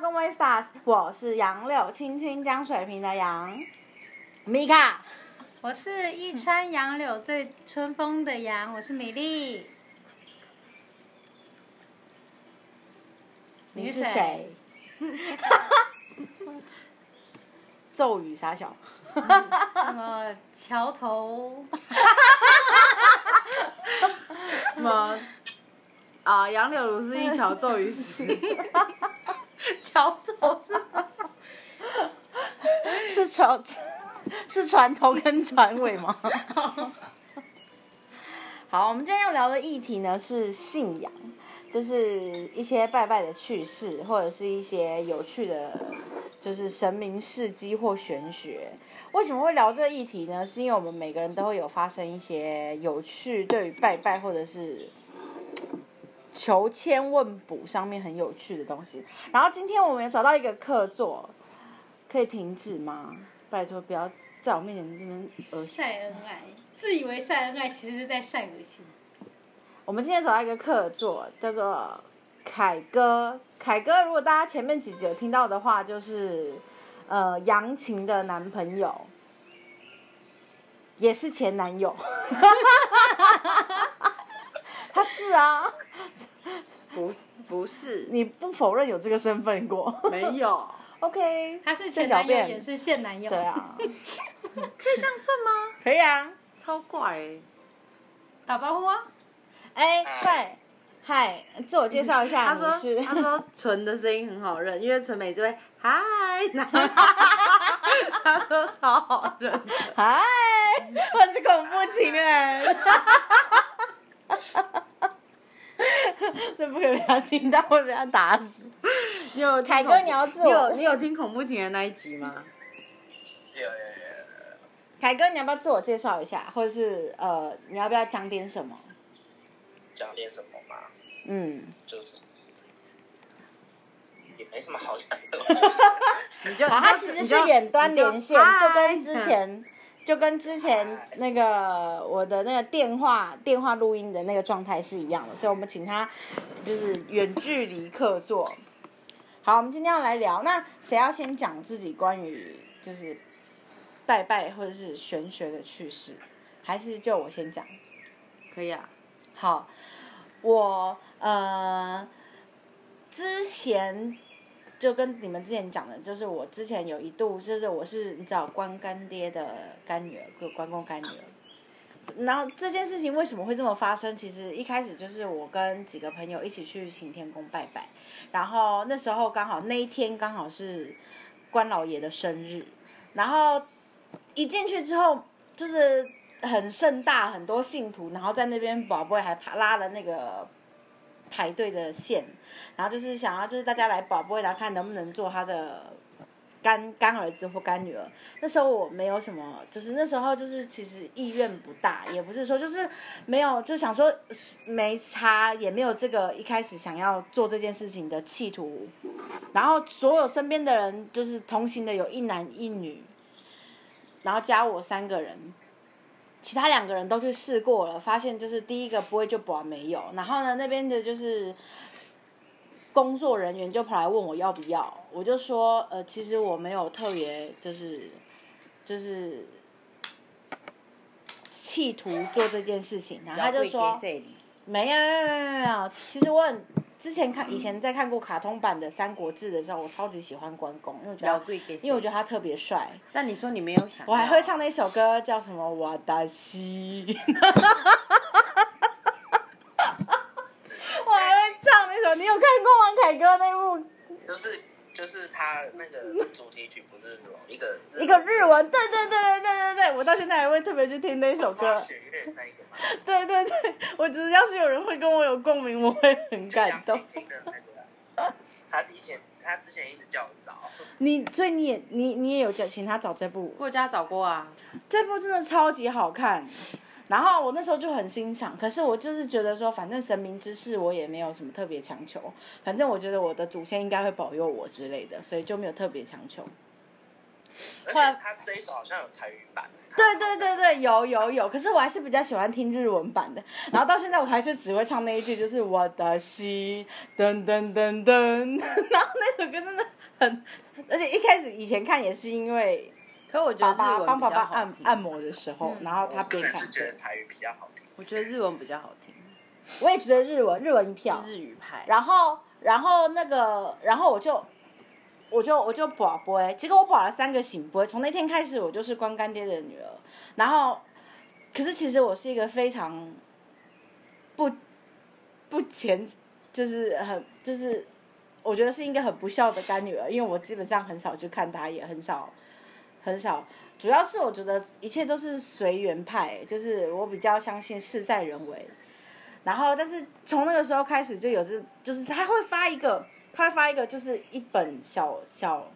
各位 stars，我是杨柳青青江水平的杨米卡。我是一川杨柳最春风的杨，我是米粒。你你是是谁？咒语傻小，什么桥头？什么啊？杨柳如是一桥咒语死，桥头是 是船 是船头跟船尾 吗？好，我们今天要聊的议题呢是信仰，就是一些拜拜的趣事，或者是一些有趣的，就是神明事迹或玄学。为什么会聊这个议题呢？是因为我们每个人都会有发生一些有趣对于拜拜或者是求签问卜上面很有趣的东西。然后今天我们也找到一个客座，可以停止吗？拜托不要在我面前这边恶心。晒恩爱，自以为晒恩爱，其实是在晒恶心。我们今天找到一个客座，叫做凯哥。凯哥，如果大家前面几集有听到的话，就是呃杨琴的男朋友，也是前男友。 他是啊，不不是，你不否认有这个身份过。没有， OK，他是郑前小男友，便也是现男友。对， 啊，这样算吗？可以啊。超怪、欸，打招呼啊！哎、对，嗨，自我介绍一下， 他你是说他说纯的声音很好认，因为纯美就会 嗨，然后他说超好认， 嗨，我是恐怖情人。 这不可以被他听到，会被他打死。你有听凯哥恐怖你要自我你有你有听恐怖情人那一集吗？有有有有。凯哥，你要不要自我介绍一下，或者是呃，你要不要讲点什么？讲点什么嘛？嗯，就是也没什么好讲的。你就好，他哦其实是远端连线，就哎跟之。前，就跟之前那个我的那个电话电话录音的那个状态是一样的，所以我们请他就是远距离客座。好，我们今天要来聊，那谁要先讲自己关于就是拜拜或者是玄学的趣事，还是就我先讲？可以啊，好，我呃之前就跟你们之前讲的，就是我之前有一度就是我是你知道关干爹的干女儿，就关公干女儿。然后这件事情为什么会这么发生？其实一开始就是我跟几个朋友一起去行天宫拜拜，然后那时候刚好那一天刚好是关老爷的生日，然后一进去之后就是很盛大，很多信徒，然后在那边宝贝还爬拉了那个排队的线，然后就是想要就是大家来宝贝，然后看能不能做他的干干儿子或干女儿。那时候我没有什么，就是那时候就是其实意愿不大，也不是说就是没有就想说没差，也没有这个一开始想要做这件事情的企图。然后所有身边的人就是同行的有一男一女，然后加我三个人，其他两个人都去试过了，发现就是第一个不会就保没有，然后呢那边的就是工作人员就跑来问我要不要，我就说呃其实我没有特别就是就是企图做这件事情，然后他就说没有没有没有没有，其实我很之前看以前在看过卡通版的《三国志》的时候，我超级喜欢关公，因为我觉老得贵给，因为我觉得他特别帅。但你说你没有想，我还会，唱那首歌叫什么《瓦达西》， 我还会唱那首。你有看过王凯哥那部就是就是他那个主题曲不是什么一个一个日文？对对对对对对对，我到现在还会特别去听那首歌。学院那一个嘛，对对对，我觉得要是有人会跟我有共鸣，我会很 感动。听的那个啊。他以前他之前一直叫我找，你所以你也你你也有叫请他找这部我家找过啊，这部真的超级好看。然后我那时候就很欣赏，可是我就是觉得说，反正神明之事我也没有什么特别强求，反正我觉得我的祖先应该会保佑我之类的，所以就没有特别强求。而且他这一首好像有台语版。啊对对对对，有有有，可是我还是比较喜欢听日文版的。然后到现在我还是只会 唱那一句，就是我的心噔噔噔噔。然后那首歌真的很，而且一开始以前看也是因为可我觉爸得日爸文帮比爸较爸好按听，按摩的时候，嗯然后哦他我边甚看哦至觉得对，台语比较好听。我觉得日文比较好听，我也觉得日文日文一票是，日语派。然后然后那个然后我就。我就我就保播，结果我保了三个醒播。从那天开始，我就是关干爹的女儿。然后，可是其实我是一个非常不不前，就是很就是，我觉得是一个很不孝的干女儿，因为我基本上很少去看她，也很少很少。主要是我觉得一切都是随缘派，就是我比较相信事在人为。然后，但是从那个时候开始就有这，就是他会发一个，他会发一个，就是一本小小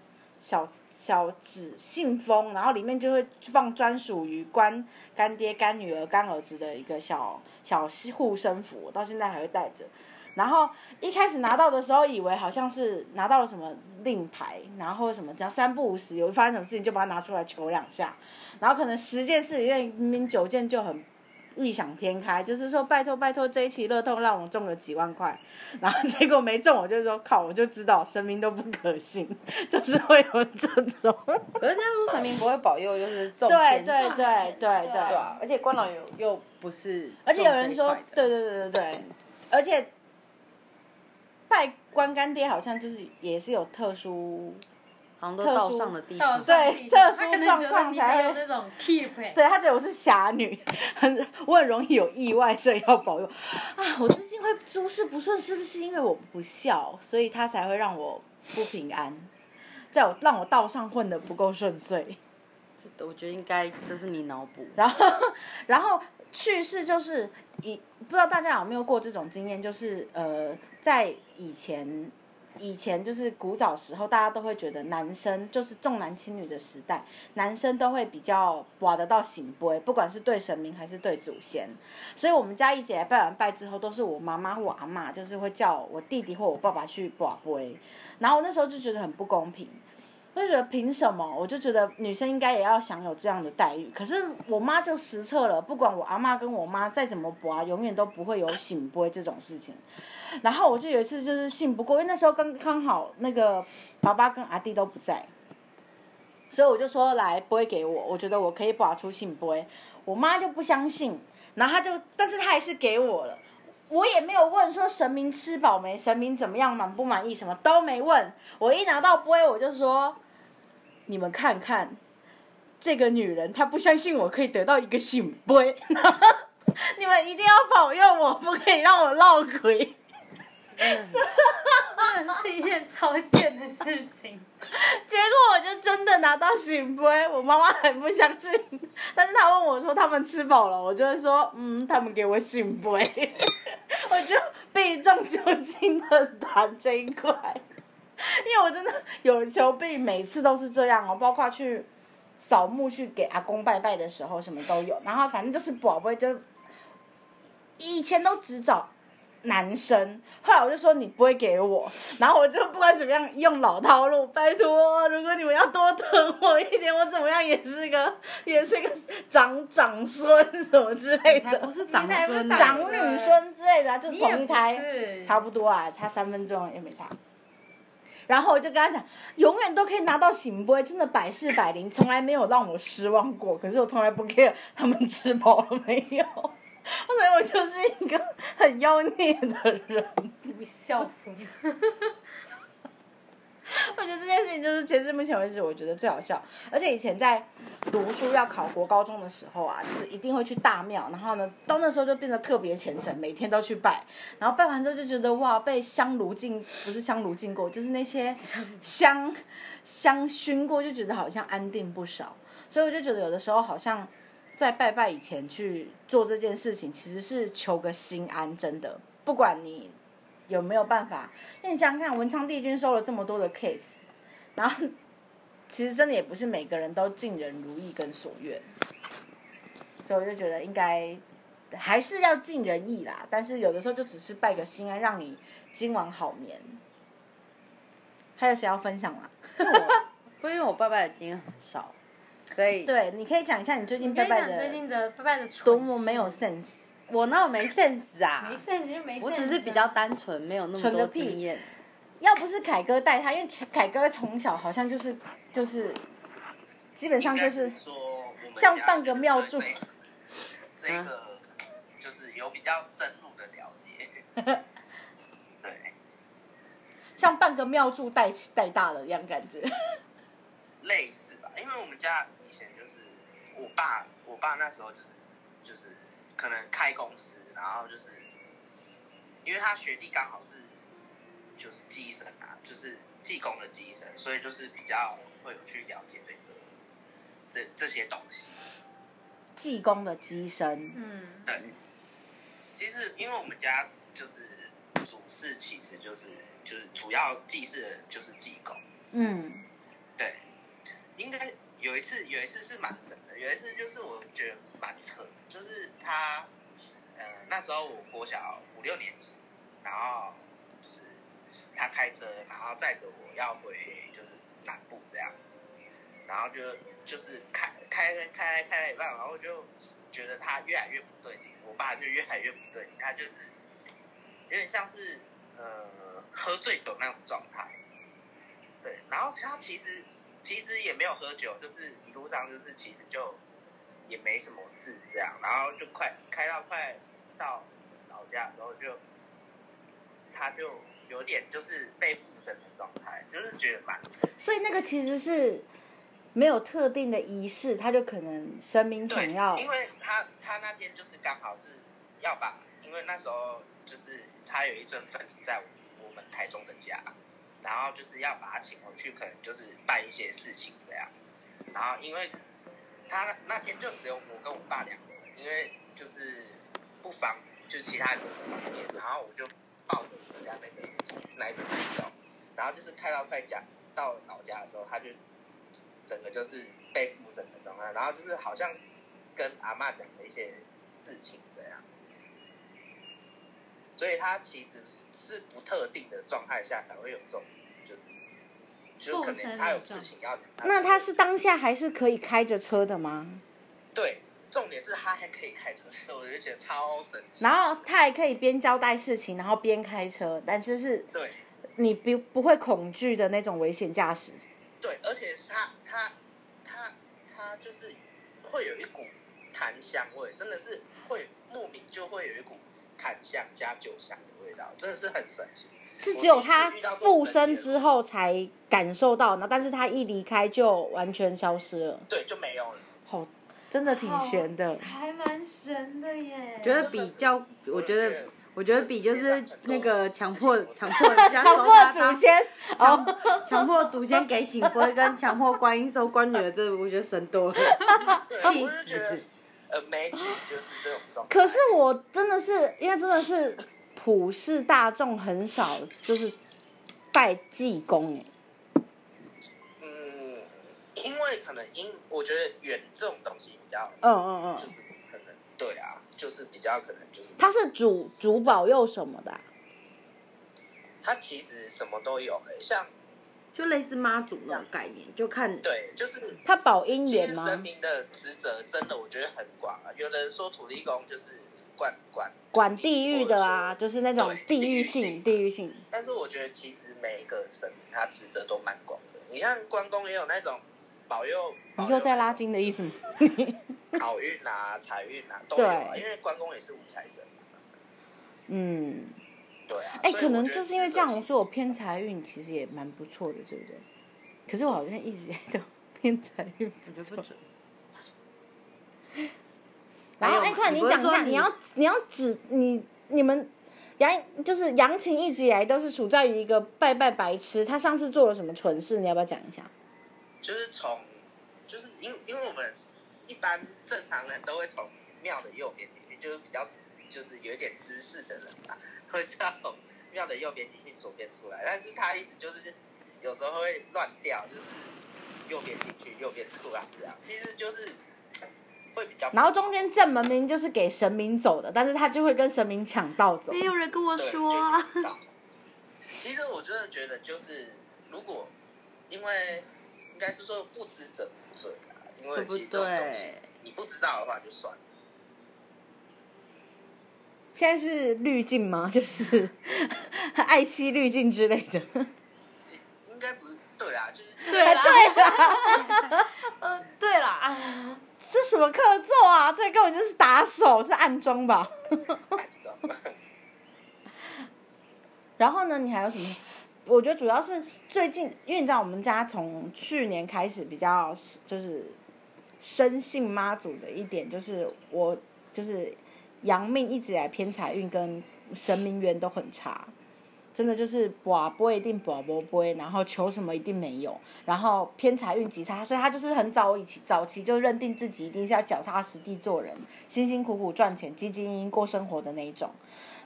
小小纸信封，然后里面就会放专属于关干爹、干女儿、干儿子的一个小小护身符，我到现在还会带着。然后一开始拿到的时候，以为好像是拿到了什么令牌，然后什么，只要三不五时有发生什么事情，就把它拿出来求两下。然后可能十件事里面，明明九件就很异想天开，就是说拜托拜托，这一期乐透让我中个几万块，然后结果没中，我就说靠，我就知道神明都不可信，就是会有这种。可是他说神明不会保佑，就是中对偏对执对对对对对，啊，而且关老爷又不是，而且有人说，对，对对对对，而且拜关干爹好像就是也是有特殊，好像都到上的地方，对特殊他可能状觉得况你才没有会那种 keep，对他觉得我是侠女， 很我很容易有意外，所以要保佑啊！我最近会诸事不顺，是不是因为我不孝，所以他才会让我不平安，在我让我道上混的不够顺遂。我觉得应该这是你脑补。然后，然后去世就是以不知道大家有没有过这种经验，就是呃，在以前以前就是古早时候，大家都会觉得男生就是重男轻女的时代，男生都会比较挖得到醒杯，不管是对神明还是对祖先。所以我们家一姐拜完拜之后，都是我妈妈或我阿妈，就是会叫我弟弟或我爸爸去拔杯，然后我那时候就觉得很不公平。我就觉得凭什么？我就觉得女生应该也要享有这样的待遇。可是我妈就实测了，不管我阿妈跟我妈再怎么拔，永远都不会有醒杯这种事情。然后我就有一次就是信不过，因为那时候刚刚好那个爸爸跟阿弟都不在，所以我就说来杯给我，我觉得我可以拔出信杯。我妈就不相信，然后她就，但是她还是给我了。我也没有问说神明吃饱没，神明怎么样满不满意，什么都没问。我一拿到杯，我就说：“你们看看，这个女人她不相信我可以得到一个醒杯， 你们一定要保佑我，不可以让我落鬼。”真的是一件超贱的事情。 结果我就真的拿到醒杯，我妈妈很不相信，但是她问我说他们吃饱了，我就会说嗯，他们给我醒杯，我就避重就轻的谈这一块，因为我真的有求必应，每次都是这样哦，包括去扫墓去给阿公拜拜的时候，什么都有，然后反正就是宝贝就以前都只找男生，后来我就说你不会给我，然后我就不管怎么样用老套路，拜托，如果你们要多疼我一点，我怎么样也是个也是个长长孙什么之类才不的，是长你才不是孙，长长女孙之类的啊，就你也同一不胎。是，差不多啊，差三分钟也没差。然后我就跟他讲，永远都可以拿到醒杯，真的百试百灵，从来没有让我失望过。可是我从来不 care 他们吃饱了没有， 所以我就是一个很妖孽的人。不孝顺。 我觉得这件事情就是截至目前为止，我觉得最好笑。而且以前在读书要考国高中的时候啊，就是一定会去大庙，然后呢，到那时候就变得特别虔诚，每天都去拜。然后拜完之后就觉得哇，被香炉浸，不是香炉浸过，就是那些香香熏过，就觉得好像安定不少。所以我就觉得有的时候好像在拜拜以前去做这件事情，其实是求个心安，真的，不管你有没有办法。那你想想看，文昌帝君收了这么多的 case，然后其实真的也不是每个人都尽人如意跟所愿，所以我就觉得应该还是要尽人意啦。但是有的时候就只是拜个心安，让你今晚好眠。还有谁要分享吗？不因为我爸爸的经验很少，所以对，你可以讲一下你最近你可拜以拜讲的最近的拜拜的蠢事多么没有 sense，我那我没啊 sense 啊没，sense 就没 sense，我只是比较单纯，没有那么蠢多个屁经验。要不是凯哥带他，因为凯哥从小好像就是就是，基本上就是应该说我们像半个庙祝啊家 对这这个就是有比较深入的了解。 对，像半个庙祝带带大了一样感觉。类似吧，因为我们家以前就是我爸，我爸那时候就是就是可能开公司，然后就是因为他学弟刚好是就是技神啊，就是技工的技神，所以就是比较会有去了解这个这这些东西。济公的机身，嗯，对，其实因为我们家就是主事，其实就是就是主要祭祀的就是济公。嗯，对，应该有一次，有一次是蛮神的，有一次就是我觉得蛮扯的，就是他，呃，那时候我国小五六年级，然后就是他开车，然后载着我要回就是南部这样，然后就就是开开开开开了一半，然后就觉得他越来越不对劲，我爸就越来越不对劲，他就是有点像是呃喝醉酒那种状态。对，然后他其实其实也没有喝酒，就是一路上就是其实就也没什么事这样，然后就快开到快到老家的时候就，他就有点就是被附身的状态，就是觉得蛮所以那个其实是没有特定的仪式，他就可能神明对想要，因为他他那天就是刚好是要把，因为那时候就是他有一尊分灵在我们台中的家，然后就是要把他请回去，可能就是办一些事情这样。然后因为他那那天就只有我跟我爸两个人，因为就是不方，就其他人不方便，然后我就抱着我们家那个那一只鸡肉，然后就是开到快家到老家的时候，他就整个就是被附身的状态，然后就是好像跟阿嬷讲的一些事情这样。所以他其实是是不特定的状态下才会有这种，就是就是可能他有事情要讲。那他是当下还是可以开着车的吗？对，重点是他还可以开车，所以我就觉得超神奇。然后他还可以边交代事情，然后边开车，但是是对你不不会恐惧的那种危险驾驶。对，而且是他他他他就是会有一股檀香味，真的是会莫名就会有一股檀香加酒香的味道，真的是很神奇。是只有我他第一次遇到这种附身神奇的之后才感受到，那但是他一离开就完全消失了，对就没有了。好，哦真的挺悬的哦。还蛮悬的耶。觉得比较，我觉得，我觉得比就是那个强 迫强迫人家强收迫他祖当先 强强迫祖先给醒龟，跟强迫观音收关女儿，这我觉得神多 了。对，气我就觉得死 imagine 就是这种状态。可是我真的是，因为真的是普世大众很少就是拜济公哎，嗯，因为可能因我觉得远这种东西比较嗯嗯嗯，就是可能对啊，就是比较可能就是他是主主保佑什么的啊、它其实什么都有、欸，像就类似妈祖那种概念，就看对，就是他保姻其缘实吗？神明的职责真的我觉得很广啊。有的人说土地公就是管管管地狱的啊，或者就是那种对地地域域性，性地域性。但是我觉得其实每一个神明他职责都蛮广的。你看关公也有那种保佑，你又在拉筋的意思吗？好运啊、财运啊都有、啊，对因为关公也是五财神嘛。 嗯，对啊，哎、所以可我能觉得就是因为这样，职我责说我偏财运其实也蛮不错的，对不对？可是我好像一直都偏财运不错。 然后，还哎、有快你你不讲是一下，说你你要你要指你你们杨就是杨琴一直以来都是处在于一个拜拜白痴，他上次做了什么蠢事？你要不要讲一下？就是从，就是因为因为我们一般正常人都会从庙的右边进去，就是比较就是有一点知识的人吧，会知道从庙的右边进去，左边出来。但是他一直就是有时候会乱掉，就是右边进去，右边出来这样。其实就是会比较，然后中间正门明明就是给神明走的，但是他就会跟神明抢道走。没有人跟我对啊说，。就知道其实我真的觉得，就是如果因为应该是说不知者不罪啊，因对为不其实这种东西对？你不知道的话就算了。现在是滤镜吗？ 就是爱惜滤镜之类的。 应该不是对啊，就是对啦，对 啦，呃，对啦，啊这什么客座啊？这根本就是打手，是暗装吧？ 反正然后呢，你还有什么？我觉得主要是最近，因为你知道我们家从去年开始比较就是深信妈祖的一点，就是我就是阳命一直以来偏财运跟神明缘都很差，真的就是卜卜一定卜卜卜，然后求什么一定没有，然后偏财运极差，所以他就是很早以前早期就认定自己一定是要脚踏实地做人，辛辛苦苦赚钱，兢兢业业过生活的那一种。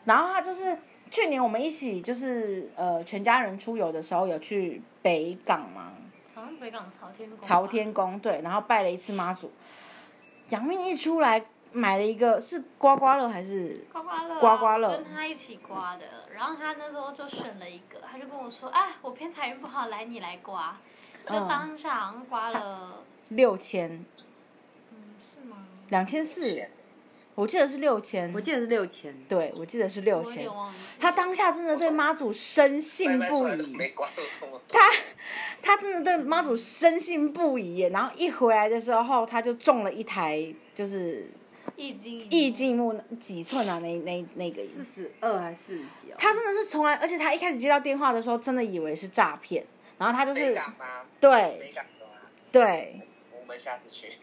然后他就是去年我们一起就是呃全家人出游的时候有去北港嘛，好像北港朝天宫吧，朝天宫对，然后拜了一次妈祖。杨幂一出来买了一个是刮刮乐还是刮刮乐啊，刮刮乐跟他一起刮的，然后他那时候就选了一个，他就跟我说，哎，我偏财运不好，来你来刮，就嗯当下好像刮 了，六千嗯，是吗？两千四，我记得是六千我，记得是六千，对我记得是六我有啊千点。忘记，他当下真的对妈祖深信卖出不来都疑，没刮到这么多。他他真的对妈祖深信不疑耶。然后一回来的时候，他就中了一台就是易经易经木几寸啊，那那那个四十二还是四十几哦？他真的是从来，而且他一开始接到电话的时候，真的以为是诈骗，然后他就没是港吗？没对港的吗？对， 我们下次去。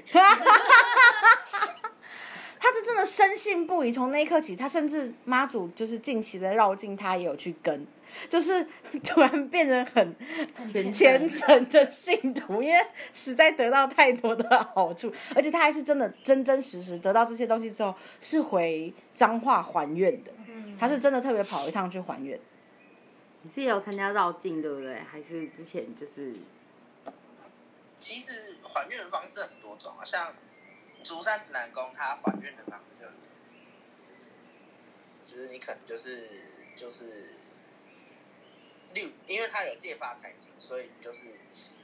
他是真的深信不疑。从那一刻起，他甚至妈祖就是近期的绕境，他也有去跟，就是 突然变成很虔虔诚的信徒，因为实在得到太多的好处，而且他还是真的真真实实得到这些东西之后，是回彰化还愿的。嗯他是真的特别跑一趟去还愿。你是也有参加绕境对不对？还是之前就是其实还愿的方式很多种啊，像竹山指南宫，它还愿的方式就很多，就是你可能就是就是六，因为它有借发财金，所以你就是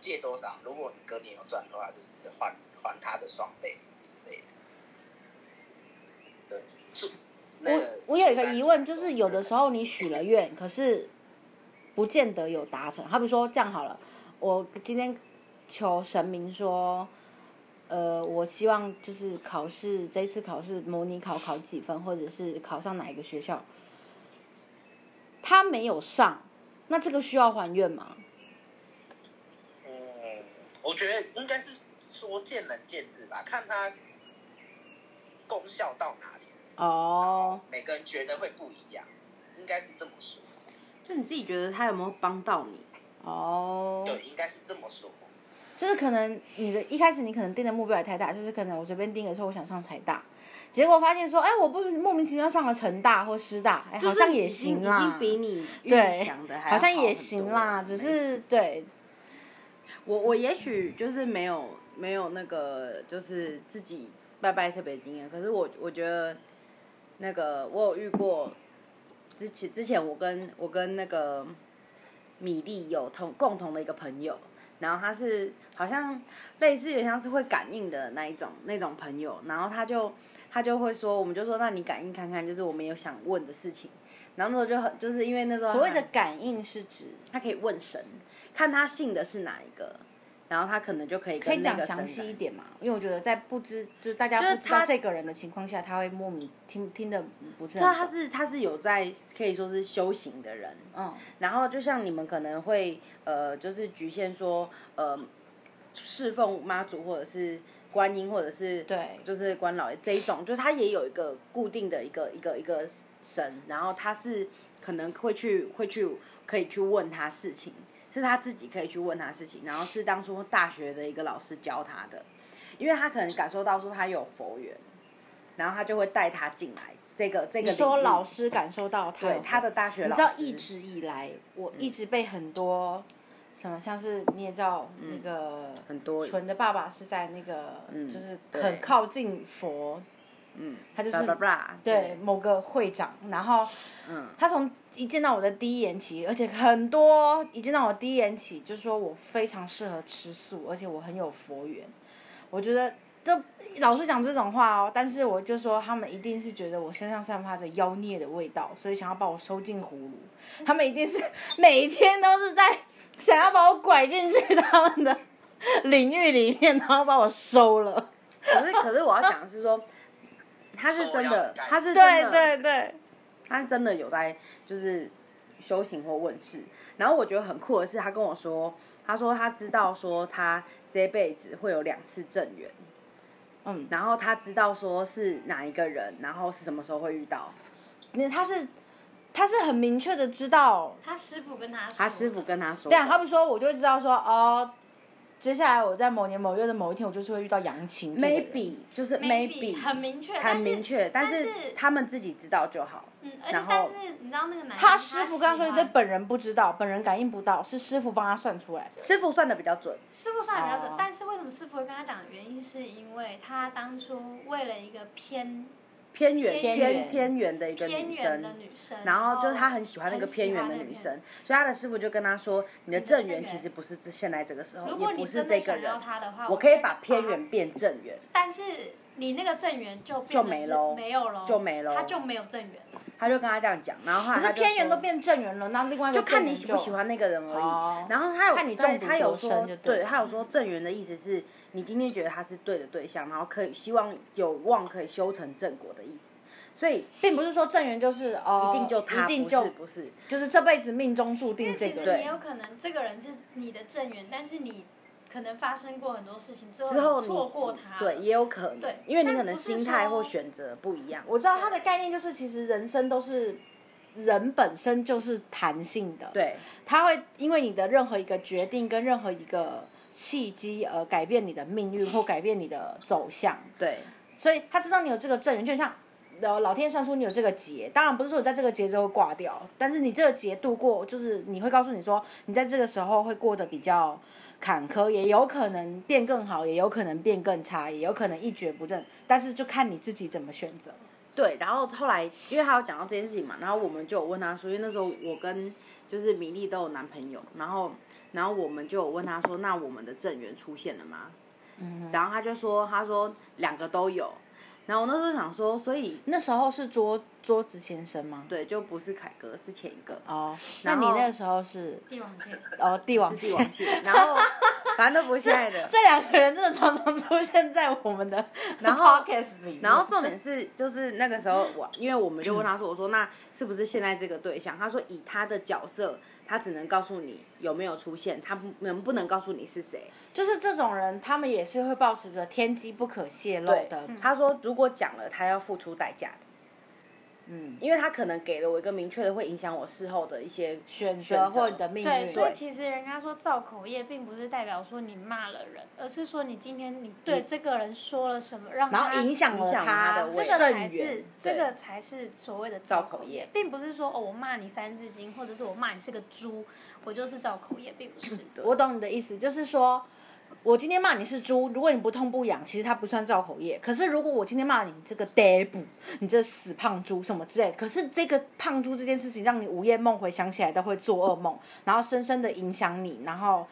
借多少，如果你隔年有赚的话，就是还还他的双倍之类的。对，就那我我有一个疑问，就是有的时候你许了愿，可是不见得有达成。好比说这样好了，我今天求神明说，呃，我希望就是考试这一次考试模拟考考几分，或者是考上哪一个学校，他没有上，那这个需要还愿吗？嗯，我觉得应该是说见仁见智吧，看它功效到哪里。哦，每个人觉得会不一样，应该是这么说。就你自己觉得他有没有帮到你？哦，对，应该是这么 说。就是可能你的一开始你可能定的目标也太大，就是可能我随便定个说我想上台大，结果发现说，哎，我不莫名其妙上了成大或师大，哎，好像也行已啦经，比你预对想的还要好像好也很行多啦，没只是对，我我也许就是没有没有那个就是自己拜拜特别经验，可是我我觉得那个我有遇过，之前之前我跟我跟那个米粒有同共同的一个朋友，然后他是好像类似有点像是会感应的那一种那种朋友，然后他就他就会说，我们就说那你感应看看，就是我们有想问的事情，然后那时候就很就是因为那时候所谓他的感应是指他嗯可以问神，看他信的是哪一个，然后他可能就可以可跟以那讲个详神细一来。点嘛，因为我觉得在不知就是大家就是不知道他这个人的情况下，他会莫名听听的不是对啊，他很懂，是他是有在可以说是修行的人，嗯，然后就像你们可能会呃，就是局限说呃，侍奉妈祖或者是观音或者是对就是关老爷这一种，就是他也有一个固定的一个一个一个神，然后他是可能会去会去可以去问他事情，是他自己可以去问他事情，然后是当初大学的一个老师教他的，因为他可能感受到说他有佛缘，然后他就会带他进来这个这个你说领域老师感受到他对有他的大学你老知师，嗯道一直以来，我一直被很多什么，像是你也知道那个嗯很多纯的爸爸是在那个，嗯就是对很靠近佛，嗯，他就是叭叭叭对某个会长，然后嗯，他从一见到我的第一眼起，而且很多一见到我第一眼起就说我非常适合吃素，而且我很有佛缘。我觉得就老是讲这种话哦，但是我就说他们一定是觉得我身上散发着妖孽的味道，所以想要把我收进葫芦。他们一定是每天都是在想要把我拐进去他们的领域里面，然后把我收了。可是可是我要讲的是说，他是真的，他是真对的，对对，他真的有在就是修行或问世。然后我觉得很酷的是，他跟我说，他说他知道说他这辈子会有两次正缘，嗯，然后他知道说是哪一个人，然后是什么时候会遇到。那他是他是很明确的知道他师傅跟他说，他师傅跟他说，对啊，他们说我就会知道说哦，接下来我在某年某月的某一天，我就是会遇到杨晴这个人。 maybe 就是 maybe maybe 很明确，很明确，但是是他们自己知道就好。嗯，而且然但后是你知道那个男生他师傅跟他说喜对欢本人不知道，本人感应不到，是师傅帮他算出来的。师傅算的比较准，师傅算的比较准哦，但是为什么师傅会跟他讲？原因是因为他当初为了一个偏偏远偏偏远偏远的一个偏女远的生。女生，然后就是他很喜欢那个偏远的哦很喜欢那女个生，所以他的师傅就跟他说：“你的正缘你的正其缘实不是这现在这个时候，如也果不你是真这的个想人要，他的话，我可以把偏远，变正缘。但是你那个正缘就变就得没是喽没有喽，就没嗯喽他就没有正缘了。”他就跟他这样讲，然后后可是来他就偏圆说都变正圆了，那另外一个就看你正圆喜不喜欢那个人而已。哦然后他有看你对中毒他有多说深就，对对了他有说正缘的意思是你今天觉得他是对的对象，然后可以希望有望可以修成正果的意思。所以并不是说正圆就是哦，一定就他、一定就不是不是，就是这辈子命中注因定为这其个实人。你有可能这个人是你的正缘，但是你可能发生过很多事情，最之后后你你错过他了，对也有可能，对因为你但可能不是心态说或选择不一样。我知道他的概念就是，其实人生都是人本身就是弹性的，，对他会因为你的任何一个决定跟任何一个契机而改变你的命运或改变你的走向。对所以他知道你有这个正缘，就像老老天算出你有这个劫，当然不是说你在这个劫之后挂掉，但是你这个劫度过，就是你会告诉你说，你在这个时候会过得比较坎坷，也有可能变更好，也有可能变更差，也有可能一蹶不振，但是就看你自己怎么选择。对。然后后来因为他有讲到这件事情嘛，然后我们就有问他说，因为那时候我跟就是米粒都有男朋友，然后然后我们就有问他说，那我们的正缘出现了吗？嗯，然后他就说，他说两个都有。然后我那时候想说，所以那时候是桌桌子先生吗？对，就不是凯哥，是前一个哦，那然你后那个时候是帝王蟹。哦帝王是帝蟹。王蟹，然后反正都不是现在的。这两个人真的常常出现在我们的 然后 podcast 里面， 然后重点是，就是那个时候我，因为我们就问他说，我说那是不是现在这个对象？他说以他的角色，他只能告诉你有没有出现，他不能不能告诉你是谁。就是这种人，他们也是会保持着天机不可泄露对嗯的，他说如果讲了，他要付出代价的，嗯，因为他可能给了我一个明确的，会影响我事后的一些选选择择或你的命对，运。所以其实人家说造口业，并不是代表说你骂了人，而是说你今天你对这个人说了什么，让然他后影响了影响了他的这未个来甚才远是。这个才是所谓的造口业，并不是说哦我骂你三字经，或者是我骂你是个猪，我就是造口业，并不是。我懂你的意思，就是说。我今天骂你是猪，如果你不痛不痒，其实它不算造口业。可是如果我今天骂你这个 d e b 你这死胖猪什么之类的，可是这个胖猪这件事情让你午夜梦回想起来都会做噩梦，然后深深的影响你，然后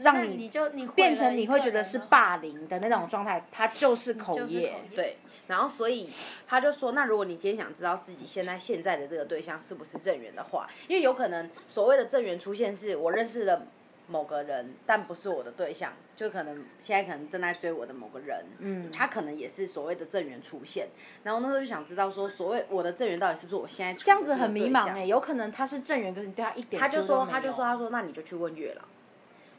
那让你你就你毁变了成你一个会觉得人是了霸凌的那种状态，它就是嗯口就是业。口业对，然后所以他就说，那如果你今天想知道自己现在现在的这个对象是不是正缘的话，因为有可能所谓的正缘出现是我认识的某个人，但不是我的对象，就可能现在可能正在追我的某个人，嗯，他可能也是所谓的正缘出现。然后那时候就想知道说，所谓我的正缘到底是不是我现在这样子很迷茫哎、哎、有可能他是正缘，可是你对他一点他就注意都说，没有他就说，他说那你就去问月老，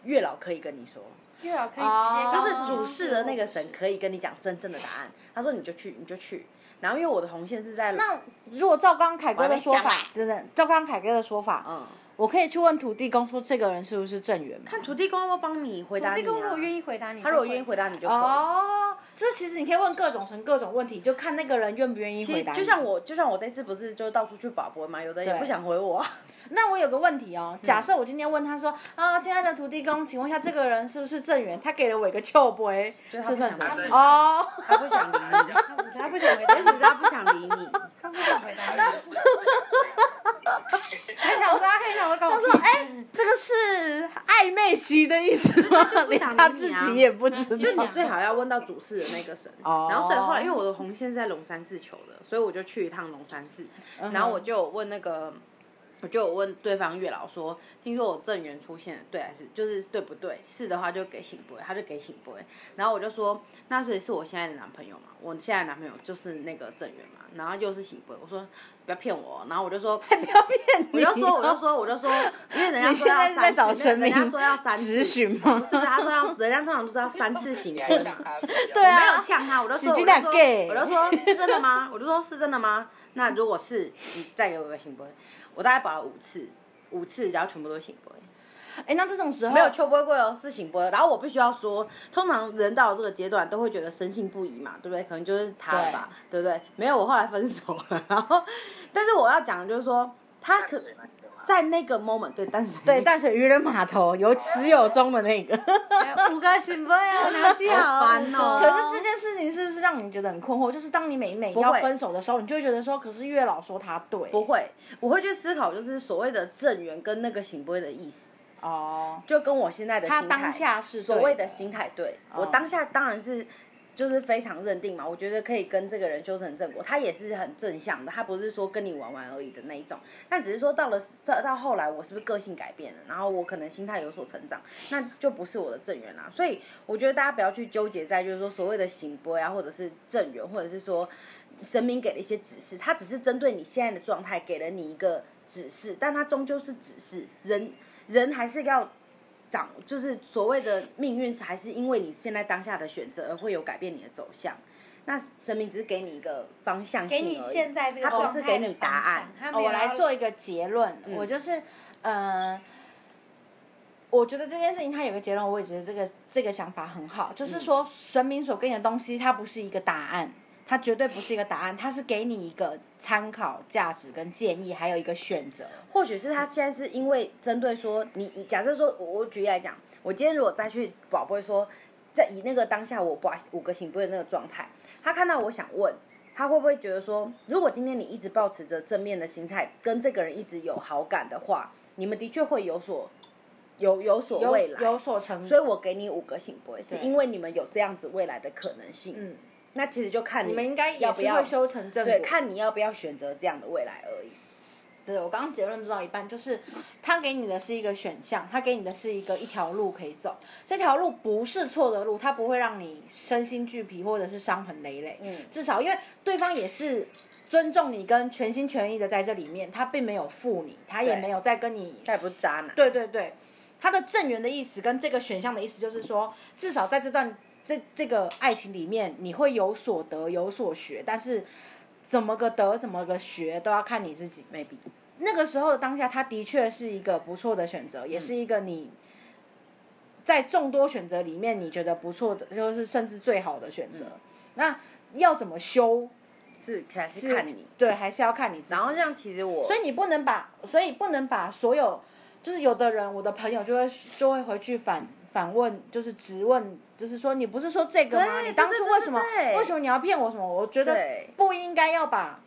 月老可以跟你说。月老啊可以哦直接就告是诉主你事的那个神是可以跟你讲真正的答案。他说你就去，你就去。然后因为我的红线是在那如果照刚刚凯哥的说我还没法讲，等等，照刚刚凯哥的说法，嗯，我可以去问土地公说这个人是不是正缘吗？看土地公要不要帮你回答这你、啊。个如果愿意回答你，他如果愿意回答你就可以。哦，就是其实你可以问各种神各种问题，就看那个人愿不愿意其回实答你。就像我，就像我这次不是就到处去保博嘛，有的也对不想回我啊，那我有个问题嗯哦，假设我今天问他说啊，亲爱的土地公，请问一下这个人是不是郑源？他给了我一个臭杯，所以是他不算想什么回？答哦，他不想理你，他不是他不想回答也许是他不想理你。他不想回答 你。哎很想说，他很想说跟我说，哎、这个是暧昧期的意思吗？连想理你他啊自己也不知就道。你啊最好要问到主事的那个神，哦然后所以后来因为我的红线是在龙山寺求的，所以我就去一趟龙山寺，嗯哼然后我就有问那个，我就有问对方月老说，听说我正缘出现了，对还是就是对不对？是的话就给醒波，他就给醒波，然后我就说，那所以是我现在的男朋友嘛，我现在的男朋友就是那个正缘嘛，然后又是醒波，我说不要骗我哦，然后我就说 不要骗我你就哦，说，我就说，我就说，因为人家你说现在要是在三找次，神人明家说要三次指，询吗？是他说要，人家通常都是要三次醒 你波还。想他怎么样？对我啊没有呛他，我就说，你真我就的说， gay 我就说是真的吗？ 我就说是真的吗？那如果是，你再给我个醒波，我大概保了五次，五次，然后全部都醒波。哎，那这种时候没有秋波过哦，是醒波。然后我必须要说，通常人到了这个阶段都会觉得深信不疑嘛，对不对？可能就是他了吧，对不对？没有，我后来分手了。 然后，但是我要讲的就是说，他淡可水那个吗在那个 moment 对，但是对淡水渔人码头有始有终的那个。哎五个醒波 呀，你要记好好烦哦五可个是这件事情是不是让你觉得很困惑？就是当你每每不会要分手的时候，你就会觉得说，可是月老说他对，不会，我会去思考，就是所谓的正缘跟那个醒波的意思，哦，就跟我现在的心他态当下是对所谓的心态对，哦我当下当然是就是非常认定嘛，我觉得可以跟这个人修成正果，他也是很正向的，他不是说跟你玩玩而已的那一种，但只是说到了到到后来，我是不是个性改变了，然后我可能心态有所成长，那就不是我的正缘啦，所以我觉得大家不要去纠结在就是说所谓的行波呀、或者是正缘，或者是说神明给了一些指示，他只是针对你现在的状态给了你一个指示，但他终究是指示，人人还是要掌，就是所谓的命运，还是因为你现在当下的选择而会有改变你的走向。那神明只是给你一个方向性给而已，你现在这个他状态不是给你答案的方向，哦我来做一个结论，嗯我就是，呃，我觉得这件事情它有个结论，我也觉得这个这个想法很好，嗯就是说神明所给你的东西，它不是一个答案。它绝对不是一个答案，它是给你一个参考价值跟建议，还有一个选择。或许是他现在是因为针对说你，你假设说我我举例来讲，我今天如果再去宝贝说，在以那个当下我把五个醒不的那个状态，他看到我想问。他会不会觉得说，如果今天你一直保持着正面的心态，跟这个人一直有好感的话，你们的确会有所有有所有未来。有所成，所以我给你五个醒不会，是对因为你们有这样子未来的可能性。嗯，那其实就看你们应该也要不是要会修成正果。对，看你要不要选择这样的未来而已。对，我刚刚结论做到一半，就是他给你的是一个选项，他给你的是一个一条路可以走，这条路不是错的路，它不会让你身心俱疲或者是伤痕累累。嗯至少因为对方也是尊重你跟全心全意的在这里面，他并没有负你，他也对没有在跟你他也不是渣男。对对对，它的正缘的意思跟这个选项的意思就是说，至少在这段这这个爱情里面，你会有所得有所学，但是怎么个得怎么个学都要看你自己。 ，maybe。那个时候的当下，它的确是一个不错的选择，嗯也是一个你在众多选择里面你觉得不错的，就是甚至最好的选择。嗯那要怎么修是还是是看你。对，还是要看你自己。然后像其实我，所以你不能把，所以不能把所有，就是有的人，我的朋友就会就会回去反反问，就是质问，就是说你不是说这个吗？对你当初对对为什么对对对为什么你要骗我什么？我觉得对不应该要把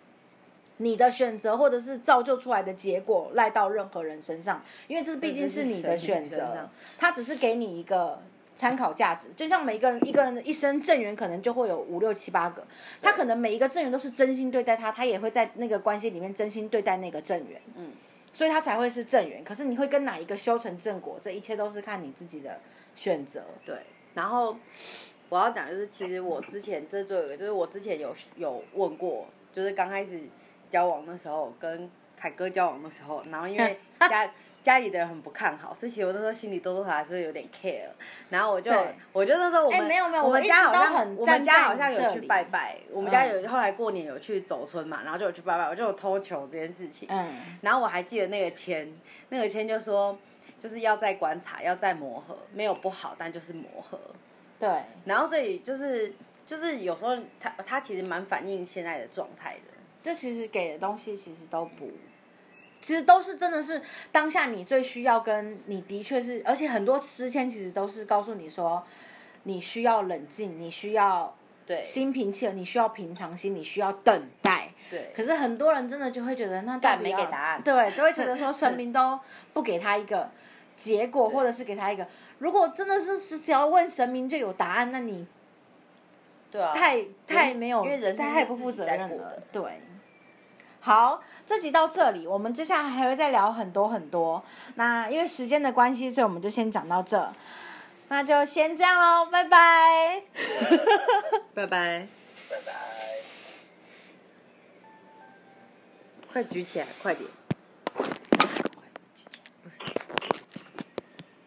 你的选择或者是造就出来的结果赖到任何人身上，因为这毕竟是你的选对这是神明身择上，他只是给你一个。参考价值，就像每一个人一个人的一生正缘，可能就会有五六七八个，他可能每一个正缘都是真心对待他，他也会在那个关系里面真心对待那个正缘，嗯，所以他才会是正缘。可是你会跟哪一个修成正果，这一切都是看你自己的选择。对，然后我要讲就是，其实我之前这就有一个，就是我之前有有问过，就是刚开始交往的时候，跟凯哥交往的时候，然后因为 家家里的人很不看好，所以其实我那时候心里多多少少还是有点 care。然后我就对我就那时候我们、哎没有没有我我们一家直好都像很我站们家在好你像这有去里拜拜，我们家嗯有、后来过年有去走村嘛，然后就有去拜拜，我就有偷球这件事情。嗯，然后我还记得那个签，那个签就说，就是要再观察，要再磨合，没有不好，但就是磨合。对，然后所以就是就是有时候他他其实蛮反映现在的状态的，就其实给的东西其实都不其实都是真的是当下你最需要跟你的确是，而且很多诗签其实都是告诉你说，你需要冷静，你需要对心平气和，你需要平常心，你需要等待。对，可是很多人真的就会觉得，那到干底没要给答案对，都会觉得说神明都不给他一个结果，或者是给他一个，如果真的是是只要问神明就有答案，那你对啊，太太没有，因为人生太不负责是自任己在过了的。对，好，这集到这里，我们接下来还会再聊很多很多。那因为时间的关系，所以我们就先讲到这，那就先这样喽，拜 拜。拜拜，拜拜。快举起来，快点，快举起来，不是。